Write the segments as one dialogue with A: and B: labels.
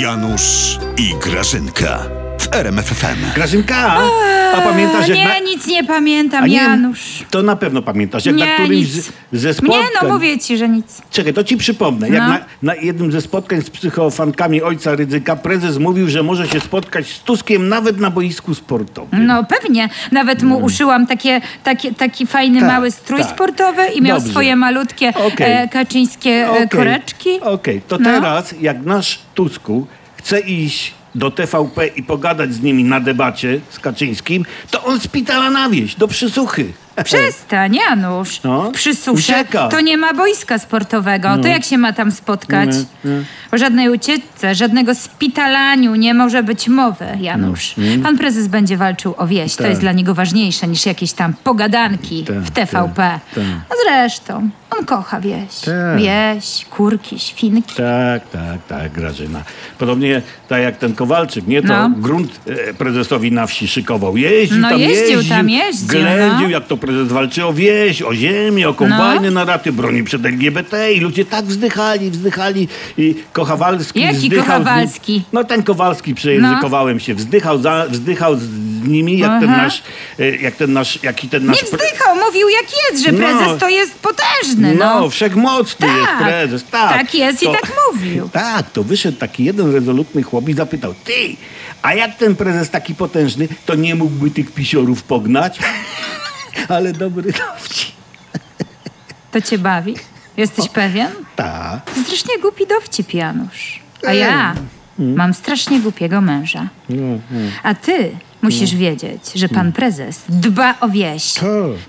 A: Janusz i Grażynka w RMFFM.
B: Grażynka, a pamiętasz jak
C: Eee, No nie,
B: na...
C: nic nie pamiętam,
B: A nie,
C: Janusz.
B: To na pewno pamiętasz, jak na
C: Nie,
B: którymś
C: nic.
B: z, ze
C: Nie,
B: spotkań...
C: no mówię ci, że nic.
B: Czekaj, to ci przypomnę. Jak
C: No.
B: na, na jednym ze spotkań z psychofankami ojca Rydzyka prezes mówił, że może się spotkać z Tuskiem nawet na boisku sportowym.
C: No pewnie. Nawet mu uszyłam takie, takie, taki fajny
B: Mm. Tak,
C: mały strój
B: tak.
C: sportowy i miał
B: Dobrze.
C: swoje malutkie
B: Okej.
C: e, kaczyńskie
B: Okej,
C: e, koreczki.
B: Okej, to
C: No.
B: teraz jak nasz Tusku chce iść do TVP i pogadać z nimi na debacie z Kaczyńskim, to on spitala na wieś, do przysłuchy.
C: Przestań, Janusz.
B: No.
C: No. Przy suszy
B: Ucieka.
C: to nie ma boiska sportowego. To jak się ma tam spotkać? O żadnej ucieczce, żadnego spitalaniu nie może być mowy, Janusz. Pan prezes będzie walczył o wieś.
B: No, mm. Tak.
C: To jest dla niego ważniejsze niż jakieś tam pogadanki
B: Tak,
C: w TVP.
B: tak,
C: A zresztą, on kocha wieś.
B: Tak.
C: Wieś, kurki, świnki.
B: Tak, tak, tak, Grażyna. Podobnie tak jak ten Kowalczyk, nie? To
C: No.
B: grunt e, prezesowi na wsi szykował. Jeździł
C: No,
B: tam,
C: jeździł
B: jeździł,
C: tam, jeździł,
B: Ględził,
C: no.
B: jak to prezes walczy o wieś, o ziemię, o kombajny na raty, broni przed LGBT i ludzie tak wzdychali, wzdychali i Kochawalski
C: Jaki
B: wzdychał z nim-
C: Kochawalski? No.
B: No ten Kowalski, przejęzykowałem się, wzdychał, za, wzdychał z nimi, jak ten
C: Aha.
B: nasz, e, jak ten nasz, jaki ten nasz...
C: Nie wzdychał, mówił jak jest, że
B: Tak. No.
C: prezes to jest potężny. No,
B: No, wszechmocny
C: Tak.
B: jest prezes, tak.
C: Tak jest i tak mówił.
B: Tak, to wyszedł taki jeden rezolutny chłop i zapytał, ty, a jak ten prezes taki potężny, to nie mógłby tych pisiorów pognać? Ale dobry dowcip.
C: To cię bawi? Jesteś pewien?
B: Tak.
C: To strasznie głupi dowcip, Janusz. A ja
B: Mm.
C: mam strasznie głupiego męża.
B: No,
C: A ty musisz wiedzieć, że
B: Mm.
C: pan prezes dba o wieś.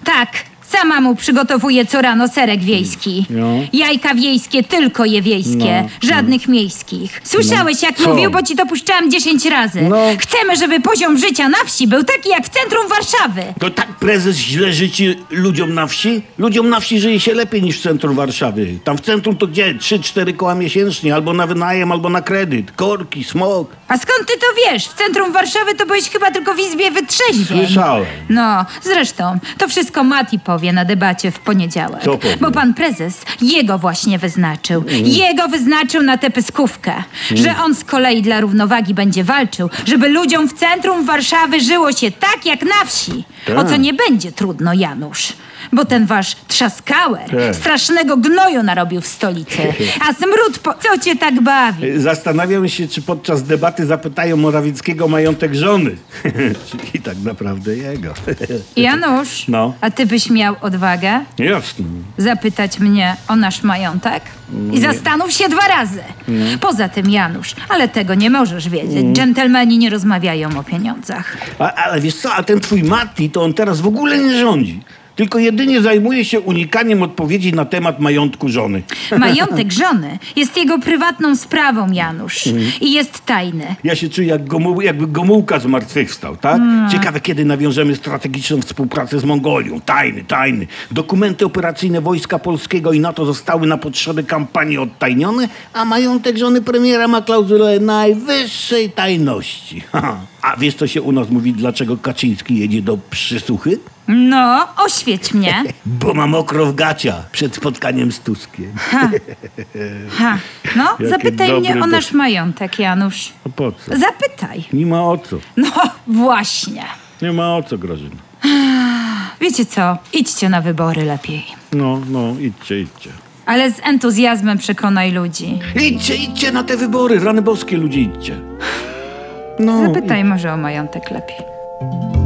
C: Tak, sama mu przygotowuje co rano serek wiejski.
B: No.
C: Jajka wiejskie, tylko je wiejskie, żadnych miejskich. Słyszałeś, jak
B: No. Co?
C: mówił, bo ci to puszczałam 10 razy.
B: No.
C: Chcemy, żeby poziom życia na wsi był taki jak w centrum Warszawy.
B: To tak prezes źle życzy ludziom na wsi? Ludziom na wsi żyje się lepiej niż w centrum Warszawy. Tam w centrum to gdzie? Trzy, cztery koła miesięcznie, albo na wynajem, albo na kredyt. Korki, smog.
C: A skąd ty to wiesz? W centrum Warszawy to byłeś chyba tylko w izbie wytrzeźwień.
B: Słyszałem.
C: No, zresztą, to wszystko Mati powie na debacie w poniedziałek.
B: Co powie? Mm.
C: Bo pan prezes jego właśnie wyznaczył. Jego wyznaczył na tę pyskówkę. Że on z kolei dla równowagi będzie walczył, żeby ludziom w centrum Warszawy żyło się tak jak na wsi.
B: Tak.
C: O co nie będzie trudno, Janusz. Bo ten wasz trzaskałer
B: Tak.
C: strasznego gnoju narobił w stolicy. A smród po... Co cię tak bawi?
B: Zastanawiam się, czy podczas debaty zapytają Morawieckiego majątek żony. Czyli tak naprawdę jego.
C: Janusz,
B: No.
C: a ty byś miał odwagę
B: Jasne.
C: zapytać mnie o nasz majątek? I zastanów się dwa razy. Poza tym, Janusz, ale tego nie możesz wiedzieć. Dżentelmeni nie rozmawiają o pieniądzach.
B: A, ale wiesz co, a ten twój Mati, to on teraz w ogóle nie rządzi. Tylko jedynie zajmuje się unikaniem odpowiedzi na temat majątku żony.
C: Majątek żony jest jego prywatną sprawą, Janusz. I jest tajny.
B: Ja się czuję, jak gomu, jakby Gomułka zmartwychwstał, tak? Ciekawe, kiedy nawiążemy strategiczną współpracę z Mongolią. Tajny, tajny. Dokumenty operacyjne Wojska Polskiego i NATO zostały na potrzeby kampanii odtajnione, a majątek żony premiera ma klauzulę najwyższej tajności. Haha. A wiesz, co się u nas mówi, dlaczego Kaczyński jedzie do przysłuchy?
C: No, oświeć mnie.
B: Bo mam okro w gacia przed spotkaniem z Tuskiem.
C: Ha. No,
B: Jaki
C: zapytaj
B: dobry
C: mnie o
B: dosz-
C: nasz majątek, Janusz.
B: A po co?
C: Zapytaj.
B: Nie ma o co.
C: No, właśnie.
B: Nie ma o co, Grażyna.
C: Wiecie co? Idźcie na wybory lepiej.
B: No, no, idźcie, idźcie.
C: Ale z entuzjazmem przekonaj ludzi.
B: Idźcie, idźcie na te wybory, rany boskie ludzie, idźcie. No,
C: Zapytaj może o majątek lepiej.